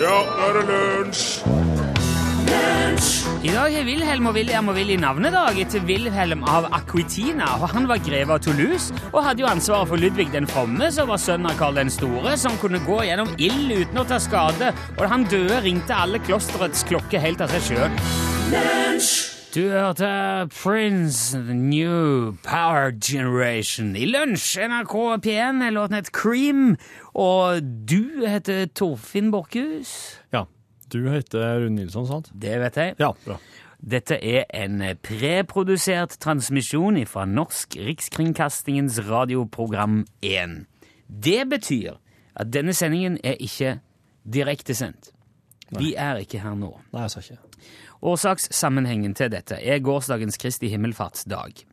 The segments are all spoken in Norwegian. Ja, nå er det lunsj! I dag er Wilhelm og William og Willy navnedag etter Wilhelm av Aquitina. og Han var greve av Toulouse og hadde jo ansvaret for Ludvig den fromme, som var sønn av Karl den store, som kunne gå gjennom ild uten å ta skade. Og da han døde, ringte alle klosterets klokker helt av seg sjøl. Du hørte Prince The New Power Generation i lunsj. NRK P1 er låten het Cream, og du heter Torfinn Borchhus. Ja. Du heter Rune Nilsson, sant? Det vet jeg. Ja, bra. Dette er en preprodusert transmisjon fra Norsk Rikskringkastingens radioprogram 1. Det betyr at denne sendingen er ikke direktesendt. Vi er ikke her nå. Nei, jeg sa ikke. Årsakssammenhengen til dette er gårsdagens Kristi himmelfartsdag.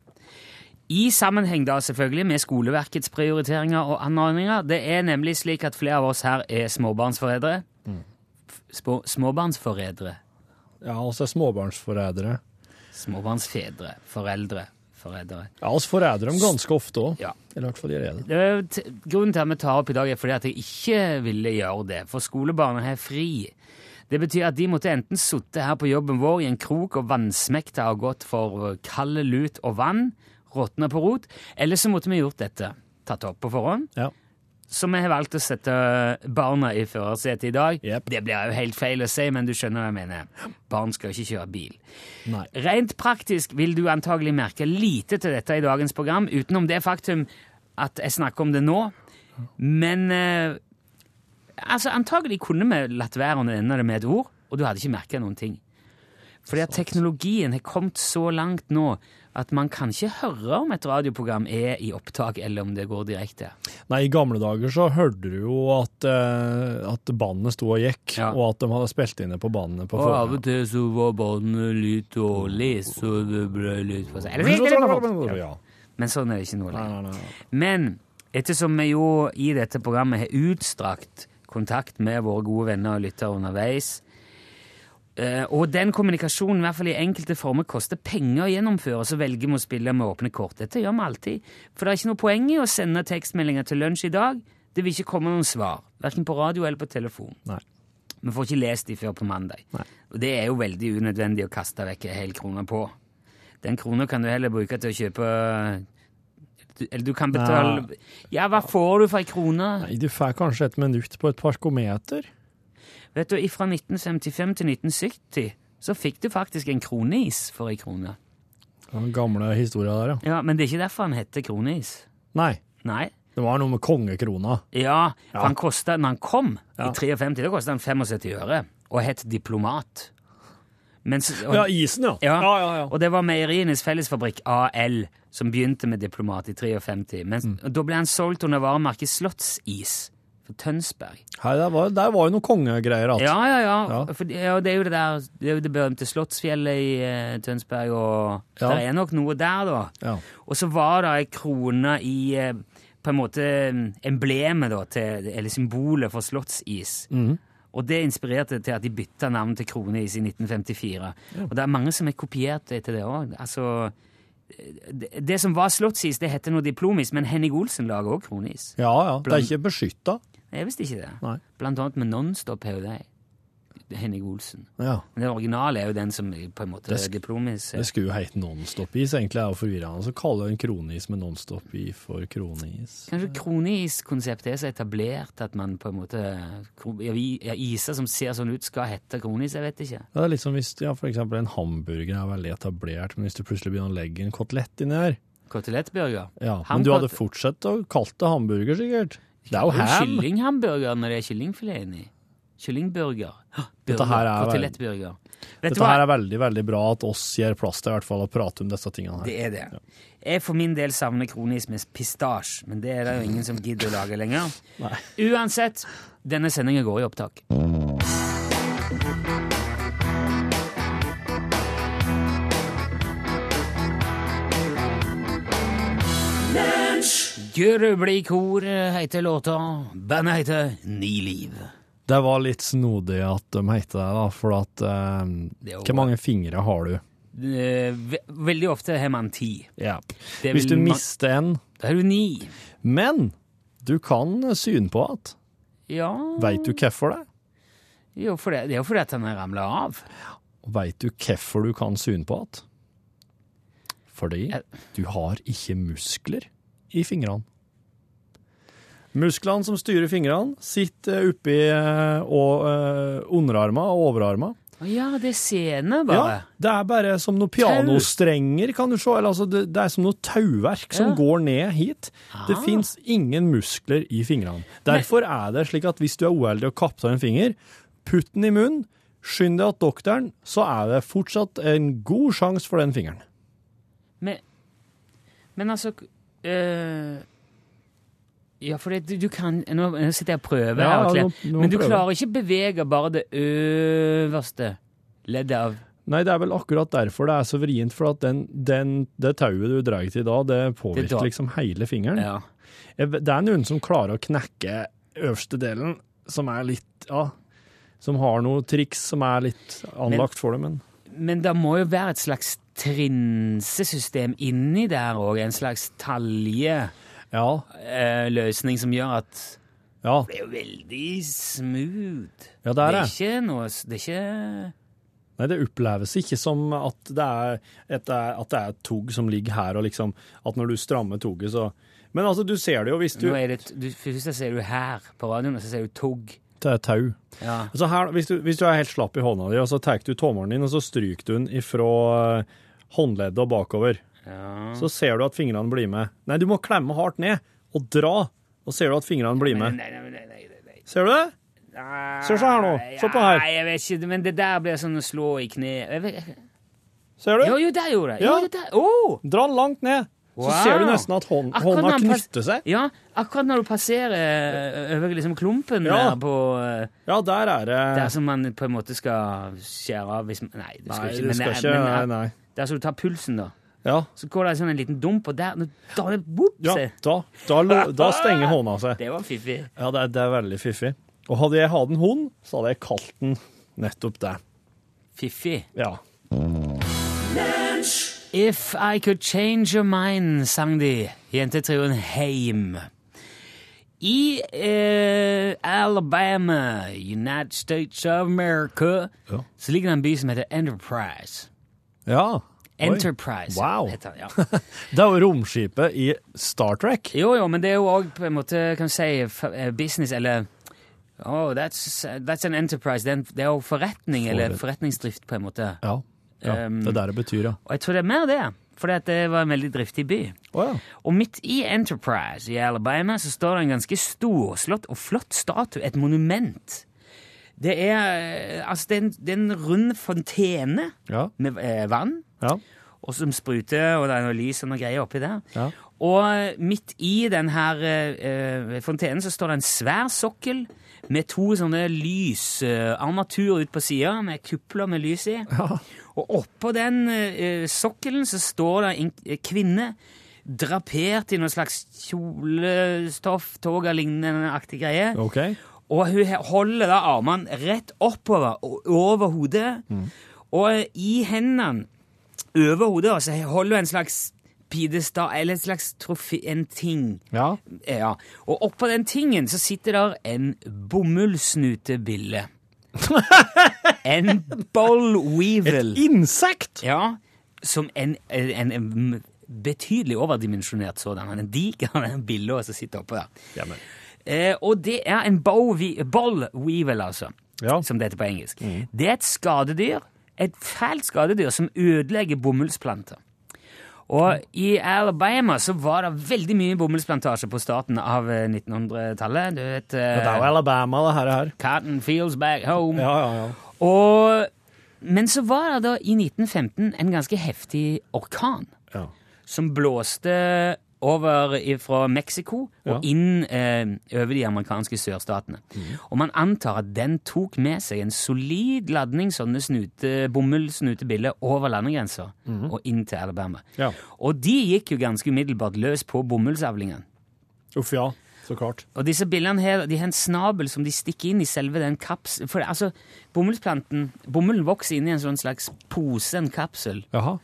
I sammenheng da selvfølgelig med skoleverkets prioriteringer og anordninger. Det er nemlig slik at flere av oss her er småbarnsforeldre. F- Små, småbarnsforeldre. Ja, altså småbarnsforrædere. Småbarnsfedre. Foreldre. Foreldre. Ja, oss forræder dem ganske ofte òg. Ja. Eller i hvert fall gjør jeg det. Det er jo t- Grunnen til at vi tar opp i dag, er fordi at jeg ikke ville gjøre det. For skolebarna har fri. Det betyr at de måtte enten sitte her på jobben vår i en krok og vannsmekte og gått for kald lut og vann, råtna på rot, eller så måtte vi gjort dette. Tatt opp på forhånd. Ja. Så vi har valgt å sette barna i førersetet i dag. Jep. Det blir jo helt feil å si, men du skjønner hva jeg mener. Barn skal ikke kjøre bil. Nei. Rent praktisk vil du antagelig merke lite til dette i dagens program, utenom det faktum at jeg snakker om det nå. Men eh, altså, antagelig kunne vi latt være å nevne det med et ord, og du hadde ikke merka noen ting. Fordi at teknologien har kommet så langt nå at man kan ikke høre om et radioprogram er i opptak, eller om det går direkte. Nei, i gamle dager så hørte du jo at, eh, at bandet sto og gikk, Ja. og at de hadde spilt inne på bandet på forhånd. til så var båndet litt dårlig, så det ble litt Sånn for Ja. Men sånn er det ikke nå lenger. Nei, nei, nei. Men ettersom vi jo i dette programmet har utstrakt kontakt med våre gode venner og lyttere underveis, eh, og den kommunikasjonen i hvert fall i enkelte former koster penger å gjennomføre, så velger vi å spille med åpne kort. Dette gjør vi alltid. For det er ikke noe poeng i å sende tekstmeldinger til lunsj i dag. Det vil ikke komme noen svar, verken på radio eller på telefon. Nei. Vi får ikke lest de før på mandag. Nei. Og det er jo veldig unødvendig å kaste vekk en hel krone på. Den krona kan du heller bruke til å kjøpe du- Eller du kan betale Ja, hva får du for ei krone? Nei, du får kanskje et minutt på et parkometer. Vet du, Fra 1955 til 1970 så fikk du faktisk en kroneis for ei krone. Den gamle historia der, ja. Ja, Men det er ikke derfor han heter kroneis. Nei, Nei. det var noe med kongekrona. Ja, for han kostet, når han kom Ja. i 53, da kosta han 75 øre og het diplomat. Mens, og, Ja, isen, ja. Ja. ja, ja, ja. Og det var Meierienes Fellesfabrikk, AL, som begynte med diplomat i 53. Mens, Mm. og Da ble han solgt under varemerket Slottsis for Tønsberg. Hei, der var, der var jo noen kongegreier. altså. at- Ja, ja, ja. Ja. For, det- ja. Det er jo det der Det er jo det berømte Slottsfjellet i eh, Tønsberg, og Ja. det er nok noe der, da. Ja. Og så var det ei krone i eh, på en måte mm, emblemet, da, til, eller symbolet for Slottsis. Og det inspirerte til at de bytta navn til Kroneis i 1954. Og det er mange som har kopiert det til det òg. Altså, det, det som var Slottsis, det heter noe diplomis, men Henning Olsen lager òg Kroneis. Ja, ja. Det er ikke beskytta. Det er visst ikke det. Nei. Blant annet med Nonstop har jo det. Henning Olsen. Ja. Men den originale er jo den som på en måte Det er sk- diplomis. eh, Det skulle jo hete nonstop-is, egentlig er jo forvirrende. Så kaller en kronis med nonstop-is for kronis. Kanskje kroniskonseptet er så etablert at man på en måte kro- ja, vi- ja, Iser som ser sånn ut, skal hete kronis. Jeg vet ikke. Ja, Det er litt som hvis ja, for eksempel en hamburger er veldig etablert, men hvis du plutselig begynner å legge en kotelett inni her Kotelettburger. ja, Ham- Men du hadde fortsatt å kalle det hamburger, sikkert. Det er jo ham! Kyllinghamburger når det er kyllingfilet inni. Kyllingburger. Hå, Dette Burger. her er vel- Kotelettburger. Vet du Dette her hva? er veldig veldig bra at oss gir plass til i hvert fall å prate om disse tingene her. Det er det. Jeg for min del savner kronis med pistasje, men det er det jo ingen som gidder å lage lenger. Uansett, denne sendingen går i opptak. Gurublikor heter låta. Bandet heter Ni liv. Det var litt snodig at de heter det, da, for at eh, Det er jo- Hvor mange fingre har du? Eh, ve- Veldig ofte har man ti. Ja. Det Hvis du vil man- mister en Da har du ni. Men du kan syne på at Ja Veit du hvorfor det? Jo, for det, det er jo fordi at han har ramla av. Og veit du hvorfor du kan sune på igjen? Fordi Jeg- du har ikke muskler i fingrene. Musklene som styrer fingrene, sitter oppi eh, og, eh, underarma og overarma. Å ja, det er sene, Ja, bare. det er bare som noen pianostrenger, kan du se. Eller, altså, det, det er som noe tauverk som Ja. går ned hit. Det Ah. fins ingen muskler i fingrene. Derfor er det slik at hvis du er uheldig og kapper av en finger, putt den i munnen, skynd deg til doktoren, så er det fortsatt en god sjanse for den fingeren. Men, men altså øh, Ja, for det, du, du kan Nå nå sitter jeg og prøver. Ja, her, ja, Kle. nå- nå men du prøver. klarer ikke å bevege bare det øverste leddet av Nei, det er vel akkurat derfor det er så vrient, for at den, den, det tauet du drar til da, det Det da- påvirker liksom hele fingeren. Ja. Jeg vet- Det er noen som klarer å knekke øverste delen, som er litt ja, Som har noe triks som er litt anlagt for det, men Men det må jo være et slags trinsesystem inni der òg. En slags taljeløsning Ja. øh, løsning som gjør at ja. Det er jo veldig smooth. Ja, det er det. det. Er ikke noe s- Det er ikke Nei, det oppleves ikke som at det er et, at det er et tog som ligger her, og liksom At når du strammer toget, så Men altså, du ser det jo hvis du Nå er det, du, først så ser du her på radioen, og så ser du tog. Det er tau. Ja. Altså her, hvis, du, hvis du er helt slapp i hånda di, og så tar du tommelen din, og så stryker du den ifra eh, håndleddet og bakover, ja. så ser du at fingrene blir med. Nei, du må klemme hardt ned og dra, og ser du at fingrene blir Nei, med. nei, nei, nei, nei, nei. Ser du det? Se så her nå. Se på her. Nei, jeg vet ikke, men det der blir sånn å slå i kne... Jeg vet, Ser jo, du? jo, der gjorde jeg. Jo, Ja. det der. Åh! Dra den langt ned. Så Wow. ser du nesten at hånd, Akkurat når hånda han pass- knytter seg. Ja, akkurat når du passerer eh, over liksom klumpen Ja. der på eh, Ja, der er det Der som man på en måte skal skjære av hvis man Nei, du skal Nei, ikke. du Men, skal eh, ikke men, Nei, eh, nei. der skal du ta pulsen, da. Ja. Så går det sånn en liten dump, og der Da er det boop, ja se. da, da, lo- da stenger hånda seg. Det var fiffig. Ja, det er, det er veldig fiffig. Og hadde jeg hatt en hund, så hadde jeg kalt den nettopp det. Fiffig. Ja. If I could change your mind, sang de, jentetrioen Heim. I eh, Alabama, United States of America, Ja. så ligger det en by som heter Enterprise. ja. Enterprise Wow. heter den, ja. Det er jo romskipet i Star Trek. Jo, jo, men det er jo òg på en måte, kan du si, f- eh, business, eller Oh, that's, that's an enterprise. Det er en- Det er jo forretning, eller Forret- forretningsdrift, på en måte. Ja. ja. Um, det er der det betyr, ja. Og jeg tror det er mer det, fordi at det var en veldig driftig by. Å ja. Og midt i Enterprise i Alabama så står det en ganske storslått og flott statue, et monument. Det er, eh, altså, det er, en, det er en rund fontene Ja. med eh, vann, ja. og som spruter, og det er noe lys og noe greier oppi der. Ja. Og eh, midt i den her eh, eh, fontenen så står det en svær sokkel med to sånne lysarmatur ut på sida, med kupler med lys i. Og oppå den eh, sokkelen så står det en eh, kvinne drapert i noe slags kjolestoff, toga-lignende aktig greie. OK. Og hun he- holder da armene rett oppover og over hodet. Og eh, i hendene over hodet da, så holder hun en slags pidestad, eller en slags trofé, en ting. Ja. Ja. Og oppå den tingen så sitter der en bomullsnutebille. en boll weevil. Insekt! Ja, som en, en, en betydelig overdimensjonert sådan. En diger den billa som sitter oppå der. Jamen. Eh, og det er en bow we- boll weevil, altså, Ja. Mm. som det heter på engelsk. Det er et skadedyr, et fælt skadedyr som ødelegger bomullsplanter. Og i Alabama så var det veldig mye bomullsplantasje på starten av eh, 1900-tallet. Du vet eh, Ja, det er jo Alabama, det her. er her. Cotton feels back home. Ja, ja, ja. Og, men så var det da i 1915 en ganske heftig orkan Ja. som blåste over fra Mexico og Ja. Mm. inn eh, over de amerikanske sørstatene. Og man antar at den tok med seg en solid ladning sånne snute, bomullsnutebiller over landegrenser og inn til Alabama. Mm. Ja. Og de gikk jo ganske umiddelbart løs på bomullsavlingene. Uff, ja. Så klart. Og disse billene her, de har en snabel som de stikker inn i selve den kaps... For det- altså, bomullsplanten, bomullen vokser inn i en sånn slags pose, en kapsel. Jaha.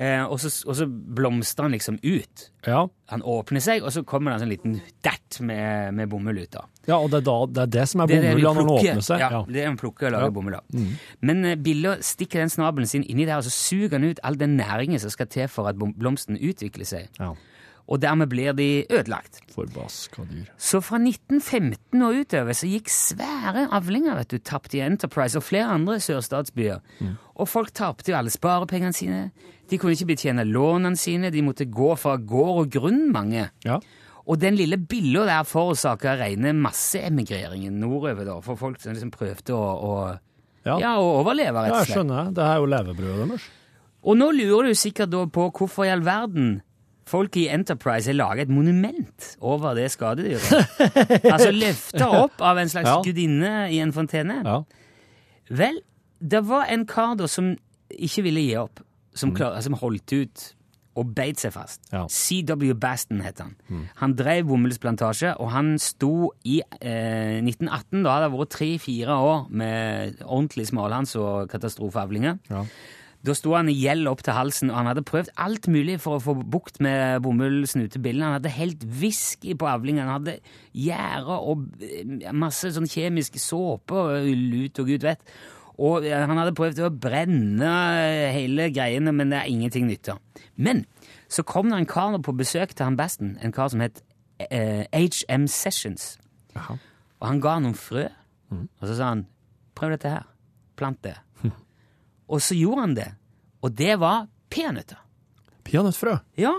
Eh, og, så, og så blomstrer han liksom ut. Ja. Han åpner seg, og så kommer det en sånn liten dert med, med bomull ut. da. ja, og det er, da, det, er det som er Det er det de bomulla når den plukker. åpner seg. Ja, det er en plukker og lager Ja. Mm. bomull av. Men eh, Billa stikker den snabelen sin inni der, og så suger han ut all den næringen som skal til for at bom- blomsten utvikler seg. Ja. Og dermed blir de ødelagt. Forbaska dyr. Så fra 1915 og utover så gikk svære avlinger vet du, tapt i Enterprise og flere andre sørstatsbyer. Mm. Og folk tapte jo alle sparepengene sine. De kunne ikke betjene lånene sine, de måtte gå fra gård og grunn, mange. Ja. Og den lille billa der forårsaka rene masseemigreringen nordover, da, for folk som liksom prøvde å, å, Ja. ja. å overleve, rett Ja, og jeg slett. skjønner. det. Det er jo levebrødet deres. Og nå lurer du sikkert da på hvorfor i all verden folk i Enterprise har laget et monument over det skadedyret. altså løfta opp av en slags Ja. gudinne i en fontene. Ja. Vel, det var en kar da som ikke ville gi opp, som, klar, som holdt ut og beit seg fast. Ja. CW Baston het han. Han drev bomullsplantasje, og han sto i eh, 1918, da hadde det vært tre-fire år med ordentlig smalhans og katastrofeavlinger. Ja. Da sto han i gjeld opp til halsen, og han hadde prøvd alt mulig for å få bukt med bomullsnutebillene. Han hadde helt whisky på avlingen, han hadde gjære og eh, masse sånn kjemisk såpe og lut og gud vet. Og eh, han hadde prøvd å brenne eh, hele greiene, men det er ingenting nytta. Men så kom det en kar på besøk til han Basten, en kar som het eh, HM Sessions. Jaha. Og han ga han noen frø, og så sa han prøv dette her, plant det. og så gjorde han det, og det var peanøtter. Peanøttfrø. Ja.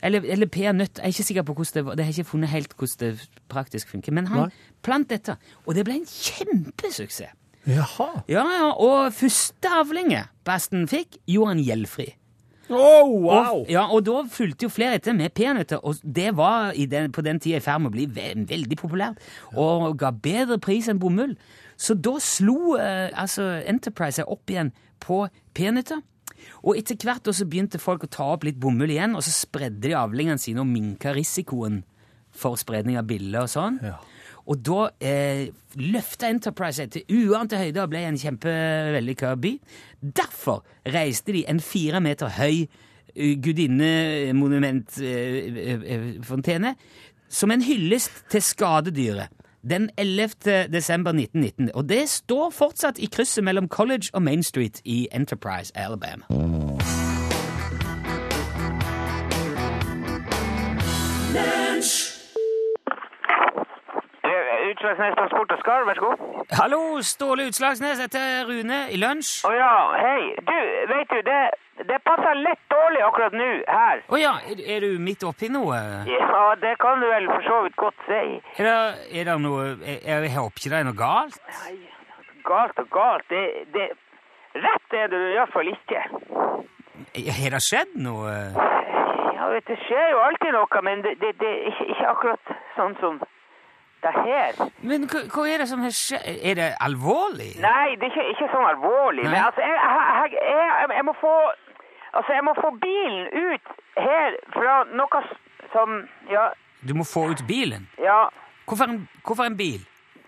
Eller, eller peanøtt, jeg er ikke sikker på hvordan det var, det har jeg ikke funnet helt hvordan det praktisk funker, men han Nei. plant dette, og det ble en kjempesuksess. Jaha. Ja, ja, og første avlinge Basten fikk, gjorde han gjeldfri. Oh, Og, ja, og da fulgte jo flere etter med peanøtter, og det var i den, på den tida i ferd med å bli ve veldig populært, og ga bedre pris enn bomull. Så da slo eh, altså Enterprise seg opp igjen på peanøtter. Og etter hvert da så begynte folk å ta opp litt bomull igjen, og så spredde de avlingene sine og minka risikoen for spredning av biller og sånn. Ja. Og da eh, løfta Enterprise seg til uante høyder og ble en kjempevellykka by. Derfor reiste de en fire meter høy eh, gudinnemonumentfontene som en hyllest til skadedyret. Den 11. desember 1919. Og det står fortsatt i krysset mellom College og Main Street i Enterprise, Alabama. Utslagsnes Transport og Skar, vær så god. Hallo, Ståle Utslagsnes. Dette er Rune i lunsj. Å ja, hei. Du, vet du, det, det passer litt dårlig akkurat nå her. Å ja, er, er du midt oppi noe? Ja, det kan du vel for så vidt godt si. Er det, er det noe Jeg, jeg håper ikke det er noe galt? Nei, galt og galt. Det, det, rett er det i hvert fall ikke. Har det skjedd noe? Ja, vet du, det skjer jo alltid noe, men det, det, det er ikke, ikke akkurat sånn som det her. Men hva, hva er det som har skjedd? Er det alvorlig? Nei, det er ikke, ikke sånn alvorlig. Men Nei. altså, jeg, jeg, jeg, jeg, jeg må få Altså, jeg må få bilen ut her fra noe s- som Ja. Du må få ut bilen. ja Hvorfor en, hvorfor en bil?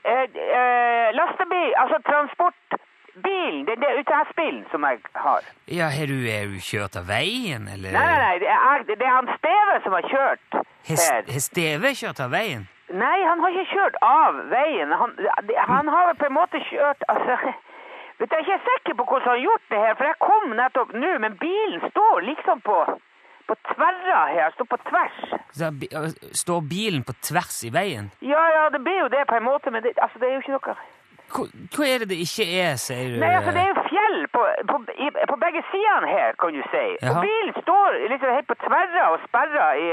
Eh, eh, lastebil, altså transportbilen, det, det er UTS-bilen som jeg har. Ja, har du, er du kjørt av veien, eller? Nei, nei, nei, det er, det er han Steve som har kjørt Har her. har Steve kjørt av veien? Nei, han har ikke kjørt av veien. Han, det- han har vel på en måte kjørt, altså... Vet du, jeg er ikke sikker på hvordan han har gjort det her, for jeg kom nettopp nå, men bilen står liksom på, på tverra her, står på tvers. Så bi- Står bilen på tvers i veien? Ja, ja, det blir jo det på en måte, men det, altså, det er jo ikke noe... Hva, hva er det det ikke er, sier du? Nei, altså det er jo fjell på, på, i, på begge sidene her, kan du si. Og Jaha. bilen står liksom helt på tverra og sperra i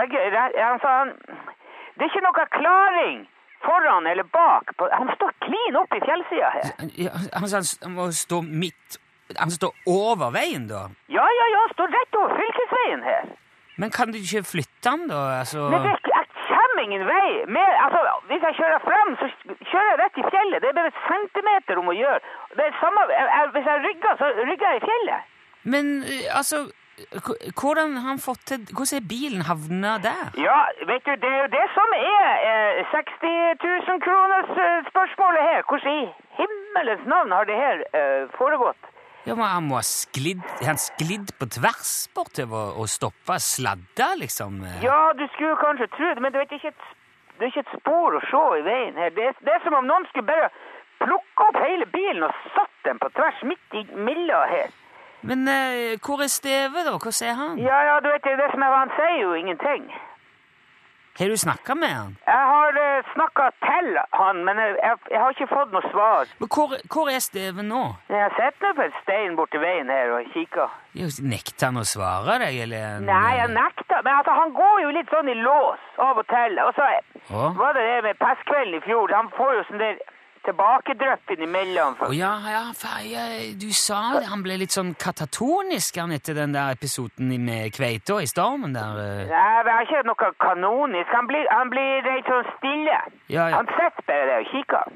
begge re- Han sa han Det er ikke noe klaring foran eller bak. På, han står klin opp i fjellsida her. Ja, han sa han s- han må stå midt Han står over veien, da? Ja, ja, ja, han står rett over fylkesveien her. Men kan du ikke flytte han, da? Altså Men det, jeg kommer ingen vei mer. Altså, hvis jeg kjører frem, så kjører jeg rett i fjellet. Det er bare centimeter om å gjøre. Det er samme, jeg, jeg, hvis jeg rygger, så rygger jeg i fjellet. Men eh, altså h- hvordan har han fått til Hvordan er bilen havna der? Ja, vet du, det er jo det som er eh, 60 000 kroners eh, spørsmålet her. Hvordan i himmelens navn har det her eh, foregått? Ja, men han må ha sklidd, han sklidd på tvers bortover og stoppa sladda, liksom. Ja, du skulle kanskje tro det, men det er ikke et, det er ikke et spor å se i veien her. Det er, det er som om noen skulle bare plukke opp hele bilen og satt den på tvers midt i milla her. Men eh, hvor er Steve, da? Hvor er han? Ja, ja, du vet det, er det som er, han sier jo ingenting. Har du snakka med han? Jeg har uh, snakka til han, men jeg, jeg, jeg har ikke fått noe svar. Men hvor, hvor er Steve nå? Jeg har sett nå på en stein borti veien her og kikka. Jo, Nekter han å svare deg, eller? Nei, jeg nekter, men altså, han går jo litt sånn i lås av og til. Og så Å? var det det med pestkvelden i fjor. Han får jo sånn der tilbakedrypp innimellom. Å ja, ja, fa- ja, du sa det. Han ble litt sånn katatonisk han etter den der episoden i- med kveita i stormen der. eh. Nei, men han er ikke noe kanonisk. Han blir, han blir litt sånn stille. Ja, ja. Han sitter bare der og kikker.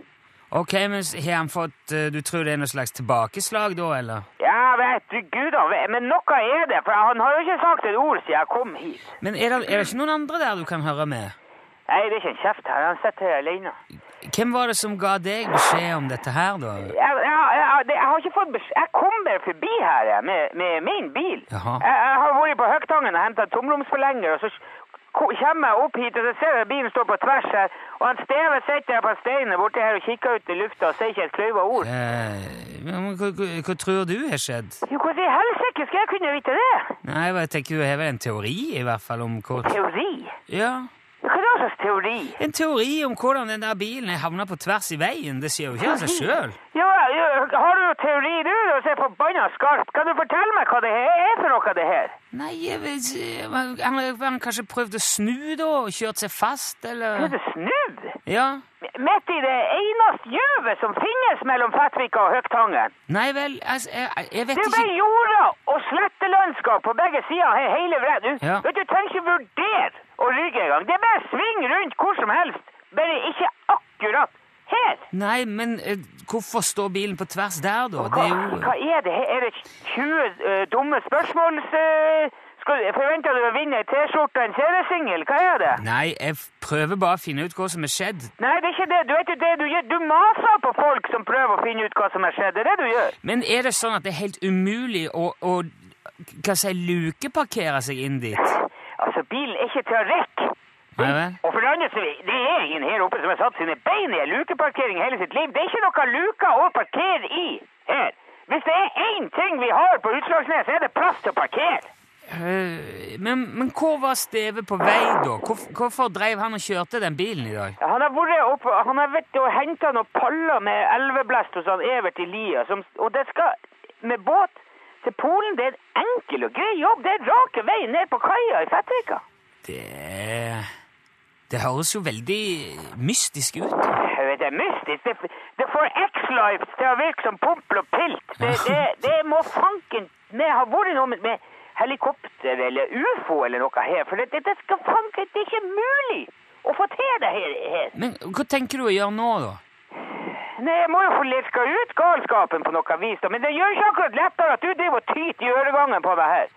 Ok, men s- har han fått eh, Du tror det er noe slags tilbakeslag da, eller? Ja, vet du, gud, han vet. men noe er det, for han har jo ikke sagt et ord siden jeg kom hit. Men er det, er det ikke noen andre der du kan høre med? Nei, det er ikke en kjeft her, han sitter her alene. Hvem var det som ga deg beskjed om dette her, da? Jeg, jeg, jeg, det- jeg har ikke fått beskjed, jeg kommer forbi her jeg, med, med min bil. Jaha. Jeg, jeg har vært på Høgtangen og hentet tomromsforlenger, og så ko- kommer jeg opp hit, og så ser jeg bilen står på tvers her, og han Steve sitter her på steinen borte her og kikker ut i lufta og sier ikke et kløyva ord. Eh, men hva, hva, hva tror du har skjedd? Jo, hvordan i helsike skal jeg kunne vite det? Nei, jeg tenker du har vel en teori, i hvert fall, om hvor Teori? Ja. Hva er det slags teori? En teori om hvordan den der bilen er havna på tvers i veien. Det skjer jo ikke av seg sjøl. Jo, jo, har du noe teori du, og ser forbanna skarpt? Kan du fortelle meg hva det her er for noe, det her? Nei, jeg vet ikke. han han har kanskje prøvd å snu da, og kjørt seg fast, Er eller det snudd? Ja. Midt i det eneste gjøvet som finnes mellom Fettvika og Høgtangen. Nei vel, altså, jeg, jeg vet Det er jo ikke bare jorda og slettelandskap på begge sider her hele bredden. Du, Ja. vet du, trenger ikke vurdere å rygge engang. Det er bare sving rundt hvor som helst. Bare ikke akkurat her. Nei, men eh, hvorfor står bilen på tvers der, da? Det Hva, er jo hva er det her? Er det 20 eh, dumme spørsmål? eh, skal du, forventer du å vinne ei T-skjorte og en seriesingel? Hva er det? Nei, jeg f- prøver bare å finne ut hva som er skjedd. Nei, det er ikke det. Du vet jo det du gjør. Du maser på folk som prøver å finne ut hva som har skjedd. Det er det du gjør. Men er det sånn at det er helt umulig å, å hva skal jeg si, lukeparkere seg inn dit? Altså, bilen er ikke til å rekke. Nei vel? Og for det andre, så det er ingen her oppe som har satt sine bein i en lukeparkering hele sitt liv. Det er ikke noe luka å parkere i her. Hvis det er én ting vi har på Utslagsnes, så er det plass til å parkere. Eh, Men, men hvor var Steve på vei, da? Hvorf- hvorfor dreiv han og kjørte den bilen i dag? Han har vært oppe, han har vært og hentet noen paller med elveblest hos han Evert Elia, som, og det skal, med båt til Polen, det er en enkel og grei jobb. Det er rake veien ned på kaia i Fettvika. Det Det høres jo veldig mystisk ut. da. Jeg vet, det er mystisk. Det, det får X-Life til å virke som pompel og pilt. Det, det, det må fanken med ha vært noe med, med helikopter eller ufo eller noe her. For det, det, det skal fanken Det er ikke mulig å få til det her. her. Men hva tenker du å gjøre nå, da? Nei, jeg må jo få lirka ut galskapen på noe vis, da. Men det gjør ikke akkurat lettere at du driver og tyter i øregangen på meg her.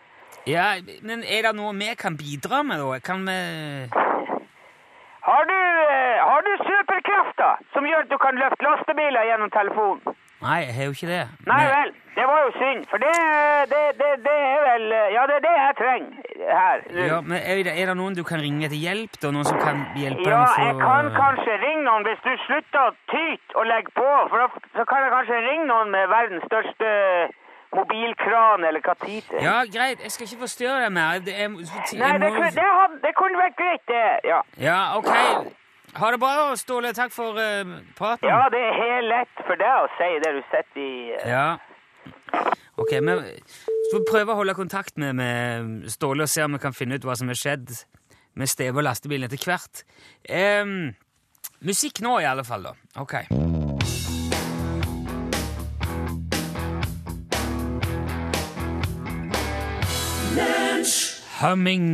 Ja, men Er det noe vi kan bidra med, da? Kan vi Har du, eh, har du superkrefter som gjør at du kan løfte lastebiler gjennom telefonen? Nei, jeg har jo ikke det. Nei Men- vel, det var jo synd, for det, det, det, det er vel Ja, det er det jeg trenger her. Ja, men er det, er det noen du kan ringe til hjelp, da? Noen som kan hjelpe Ja, deg jeg kan kanskje ringe noen hvis du slutter å tyte og legge på. For da så kan jeg kanskje ringe noen med verdens største mobilkran eller katite. Ja, greit. Jeg skal ikke forstyrre deg mer. Det er, jeg Nei, det, må- kunne- det, hadde, det kunne vært greit, det. Ja, Ja, ok. Ha det bra, Ståle. Takk for eh, praten. ja det er helt lett for deg å si det du sitter i eh. Ja. Ok, men så prøve å holde kontakt med, med Ståle og se om vi kan finne ut hva som har skjedd med Steve og lastebilen etter hvert. Ehm, musikk nå i alle fall, da. Ok. Humming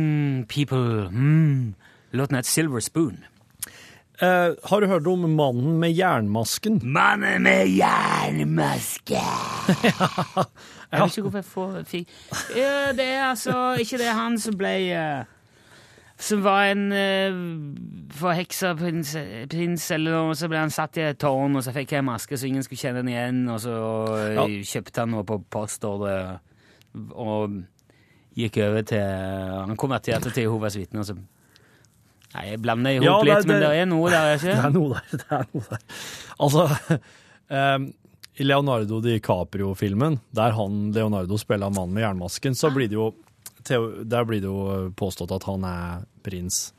People. Mm. Låten het Silver Spoon. Eh, har du hørt om mannen med jernmasken? Mannen med jernmaske! Jeg vet ikke hvorfor jeg får fikk Eh, Det er altså ikke det han som ble eh, som var en eh, forheksa prins, prins, eller noe, så ble han satt i et tårn, og så fikk jeg en maske så ingen skulle kjenne den igjen, og så eh, Ja. kjøpte han noe på postordre, og gikk over til Han konverterte til Jehovas vitner, så Nei, jeg blander i hop Ja, det- litt, men det- det er noe der, er Det ikke er noe der. det er noe der. Altså, em, i Leonardo DiCaprio-filmen, der han, Leonardo spiller mannen med jernmasken, så blir det jo, teo- der blir det jo eh, påstått at han er prins,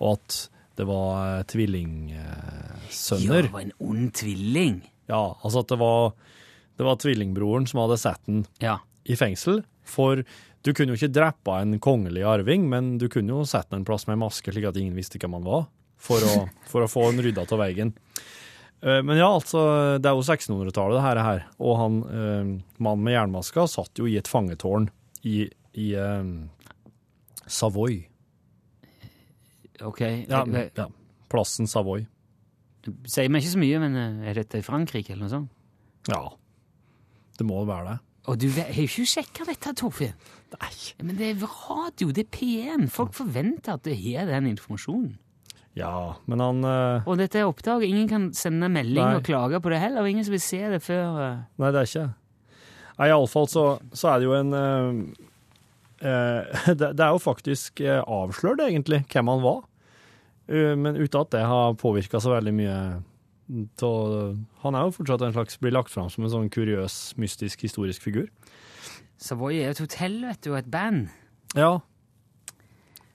og at det var eh, Ja, tvillingsønner. det var en ond tvilling. Ja, altså at det var, det var tvillingbroren som hadde sett den Ja. i fengsel, for du kunne jo ikke drepe en kongelig arving, men du kunne jo sette den en plass med en maske slik at ingen visste hvem han var, for å, for å få den rydda av veien. Eh, Men ja, altså, det er jo 1600-tallet det her, er her, og han, eh, mannen med jernmaska satt jo i et fangetårn i, i eh, Savoy. Ok. Ja, Jeg- jeg- ja, plassen Savoy. det Sier meg ikke så mye, men eh, er dette i Frankrike eller noe sånt? Ja, det må være det. Og du vet- har jo ikke sjekka dette, Torfinn. Nei. Men det er radio, det er P1. Folk forventer at du har den informasjonen. Ja, men han... eh, Og dette er oppdag. Ingen kan sende melding Nei. og klage på det heller, og ingen som vil se det før eh, Nei, det er ikke Nei, iallfall så, så er det jo en eh, eh, det, det er jo faktisk eh, avslørt, egentlig, hvem han var. Eh, men uten at det har påvirka så veldig mye av Han er jo fortsatt en slags Blir lagt fram som en sånn kuriøs, mystisk, historisk figur. Savoy er jo et hotell, vet du, og et band. Ja.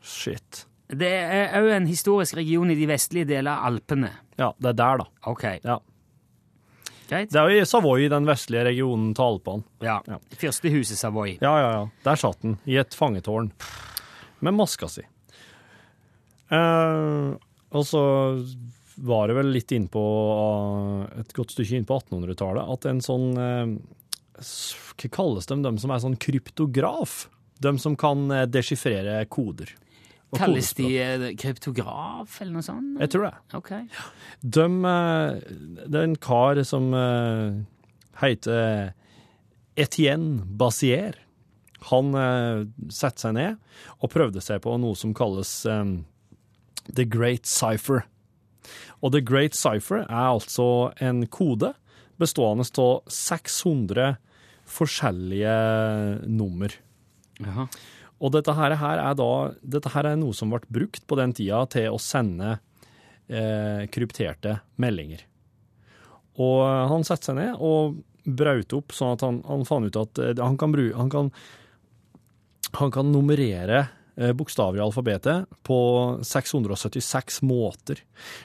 Shit. Det er òg en historisk region i de vestlige deler av Alpene. Ja, det er der, da. Ok, Ja. greit? Det er jo i Savoy, i den vestlige regionen til Alpene. Ja. Ja. Fyrstehuset Savoy. Ja, ja, ja. Der satt den, i et fangetårn. Med maska si. Eh, og så var det vel litt innpå, eh, et godt stykke innpå 1800-tallet, at en sånn eh, s- Hva kalles de, de som er sånn kryptograf? De som kan eh, deskifrere koder. og Kalles de kodespråk. eh, kryptograf eller noe sånt? Jeg tror det. Ok. De, eh, det er en kar som eh, heter Etienne Bassier. Han eh, satte seg ned og prøvde seg på noe som kalles eh, The Great Cipher. Og The Great Cipher er altså en kode bestående av 600 forskjellige nummer. Jaha. Og dette her, her er da, dette her er noe som ble brukt på den tida til å sende eh, krypterte meldinger. Og han satte seg ned og braut opp sånn at han, han fant ut at eh, han kan, bru- han kan, han kan nummerere eh, bokstaver i alfabetet på 676 måter.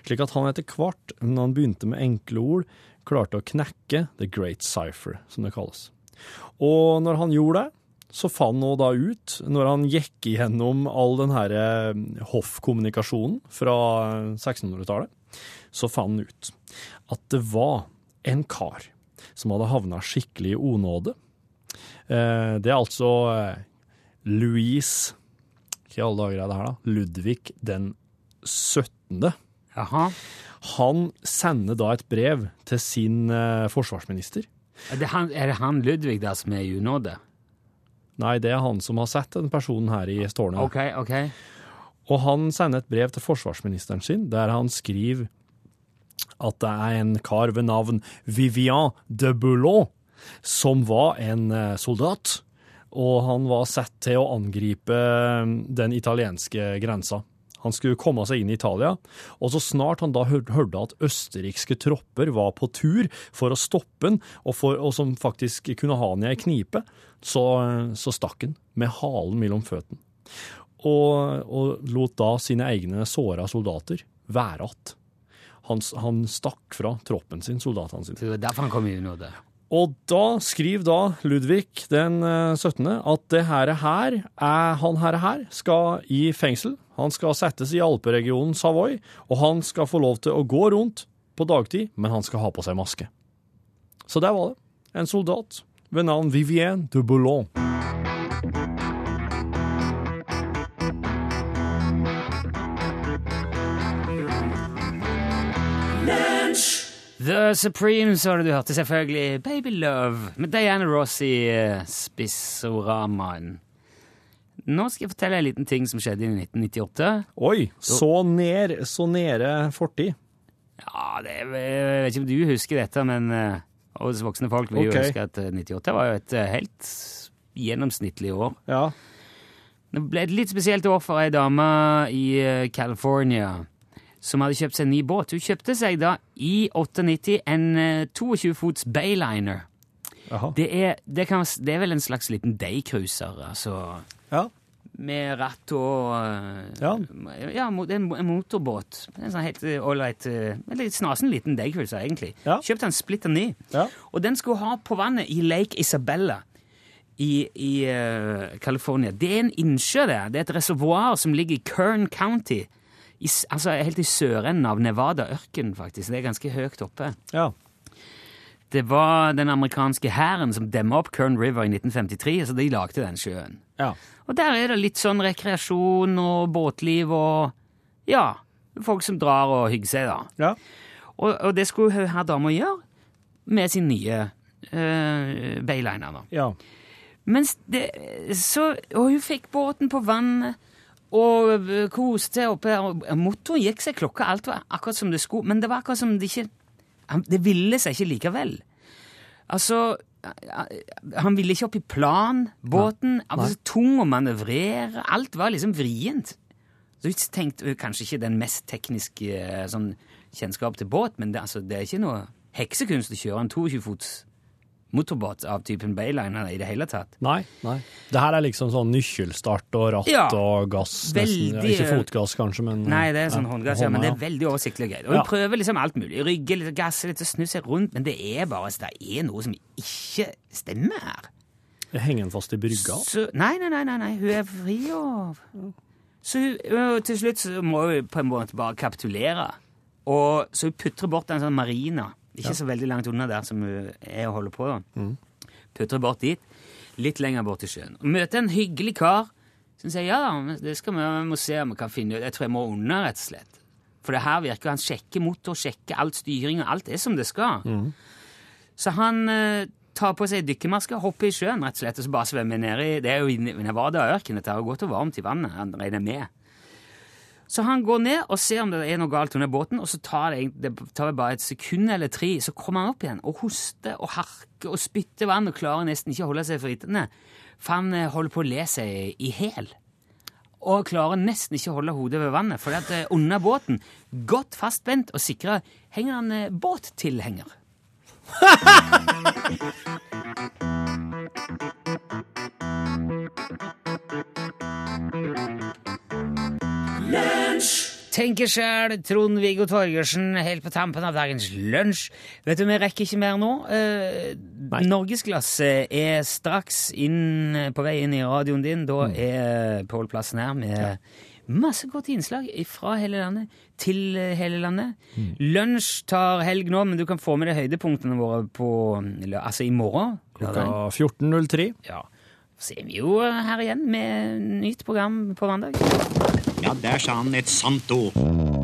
Slik at han etter hvert, når han begynte med enkle ord, klarte å knekke The Great Cipher, som det kalles. Og når han gjorde det, så fant han nå da ut, når han gikk igjennom all den her eh, hoffkommunikasjonen fra 1600-tallet, så fant han ut at det var en kar som hadde havna skikkelig i onåde. Eh, Det er altså eh, Louise Hva i alle dager er det her, da? Ludvig den 17. Jaha. Han sender da et brev til sin eh, forsvarsminister. Er det han, er det han Ludvig der som er i unåde? Nei, det er han som har sett den personen her i tårnet. Ok, ok. Og han sender et brev til forsvarsministeren sin, der han skriver at det er en kar ved navn Vivian de Boulon, som var en eh, soldat, og han var sett til å angripe eh, den italienske grensa. Han skulle komme seg inn i Italia, og så snart han da hør- hørte at østerrikske tropper var på tur for å stoppe han, og, for, og som faktisk kunne ha han i ei knipe, så, eh, så stakk han med halen mellom føttene og, og lot da sine egne såra soldater være att. Han, s- han stakk fra troppen sin, soldatene sine. Så det var derfor han kom i unåde. Og da skriver da Ludvig den eh, 17. at det her, her er, han her, her skal i fengsel. Han skal settes i alperegionen Savoy, og han skal få lov til å gå rundt på dagtid, men han skal ha på seg maske. Så der var det. En soldat ved navn Vivienne de Boulogne. The Supremes var det du hørte, selvfølgelig. Baby Love med Diana Ross i eh, spissoramaen. Nå skal jeg fortelle en liten ting som skjedde i 1998. Oi, så nær, så nære fortid. Ja, det, er- jeg vet ikke om du husker dette, men eh, oss voksne folk vil Ok. jo huske at eh, 98 var jo et eh, helt gjennomsnittlig år. Ja. Det ble et litt spesielt år for ei dame i eh, California som hadde kjøpt seg en ny båt. Hun kjøpte seg da i 98 en eh, 22 fots Bayliner. Jaha. Det er, det, kan, det er vel en slags liten daycruiser, altså. Ja. Med ratt og eh, Ja. ja, mo- det er en mo- en motorbåt. Det er En sånn helt eh, ålreit eh, en litt snasen liten daycruiser, egentlig. Ja. Kjøpte en splitter ny. Ja. Og den skulle ha på vannet i Lake Isabella i, i eh, California. Det er en innsjø der. Det er et reservoar som ligger i Kern County. I, s- altså helt i sørenden av Nevada-ørkenen, faktisk. Det er ganske høyt oppe. ja. Det var den amerikanske hæren som demma opp Kern River i 1953, så de lagde den sjøen. ja. Og der er det litt sånn rekreasjon og båtliv og Ja. Folk som drar og hygger seg, da. ja. Og, og det skulle hun her dama gjøre med sin nye uh, Bayliner. da. ja. Mens det, så, og hun fikk båten på vannet og øh, koste seg oppe her. og Motoren gikk seg klokka, alt var akkurat som det skulle. Men det var akkurat som det ikke han- Det ville seg ikke likevel. Altså Han ville ikke opp i plan, båten. Han var så tung å manøvrere. Alt var liksom vrient. Så hun tenkte øh, kanskje ikke den mest tekniske øh, sånn, kjennskap til båt, men det, altså, det er ikke noe heksekunst å kjøre en 22-fots motorbåt av typen Bayliner i det hele tatt. Nei. nei. Det her er liksom sånn nøkkelstart og ratt Ja. og gass. Nesten. Veldig- Ikke fotgass, kanskje, men Nei, det er sånn håndgass, ja, men det er hånda, veldig oversiktlig og greit. Og Ja. hun prøver liksom alt mulig. Rygge litt, gasse litt, og snu seg rundt, men det er bare altså, det er noe som ikke stemmer her. ja. Henger den fast i brygga? Så, nei, nei, nei, nei, nei, hun er fri og Så hun, og til slutt så må hun på en måte bare kapitulere. Og, så hun putrer bort en sånn marina, ikke så veldig langt unna der som hun er og holder på. da. Putrer bort dit, litt lenger bort til sjøen. Og møter en hyggelig kar som sier ja, men det skal vi, vi må se om vi kan finne ut. Jeg tror jeg må unna, rett og slett. For det her virker han sjekker motor, sjekker alt styring, og alt er som det skal. Så han eh, tar på seg dykkermaske, hopper i sjøen rett og slett, og så bare svømmer ned i Det er jo i Nevada-ørken, dette er jo godt og varmt i vannet, han regner med. Så han går ned og ser om det er noe galt under båten, og så tar det, det tar vel bare et sekund eller tre, så kommer han opp igjen og hoster og harker og spytter vann og klarer nesten ikke å holde seg for ritene. For han eh, holder på å le seg i hæl. Og klarer nesten ikke å holde hodet ved vannet, fordi at eh, under båten, godt fastspent og sikra, henger han eh, båttilhenger. Tenker sjæl, Trond-Viggo Torgersen, helt på tampen av dagens lunsj. Vet du, vi rekker ikke mer nå. Eh, Norgesglasset er straks inn, på vei inn i radioen din. Da er Pål Plassen her med masse godt innslag fra hele landet til eh, hele landet. Lunsj tar helg nå, men du kan få med deg høydepunktene våre på, eller, altså i morgen. Klokka 14.03. Ja. Så er vi jo eh, her igjen med nytt program på mandag. Ja, der sa han et sant ord.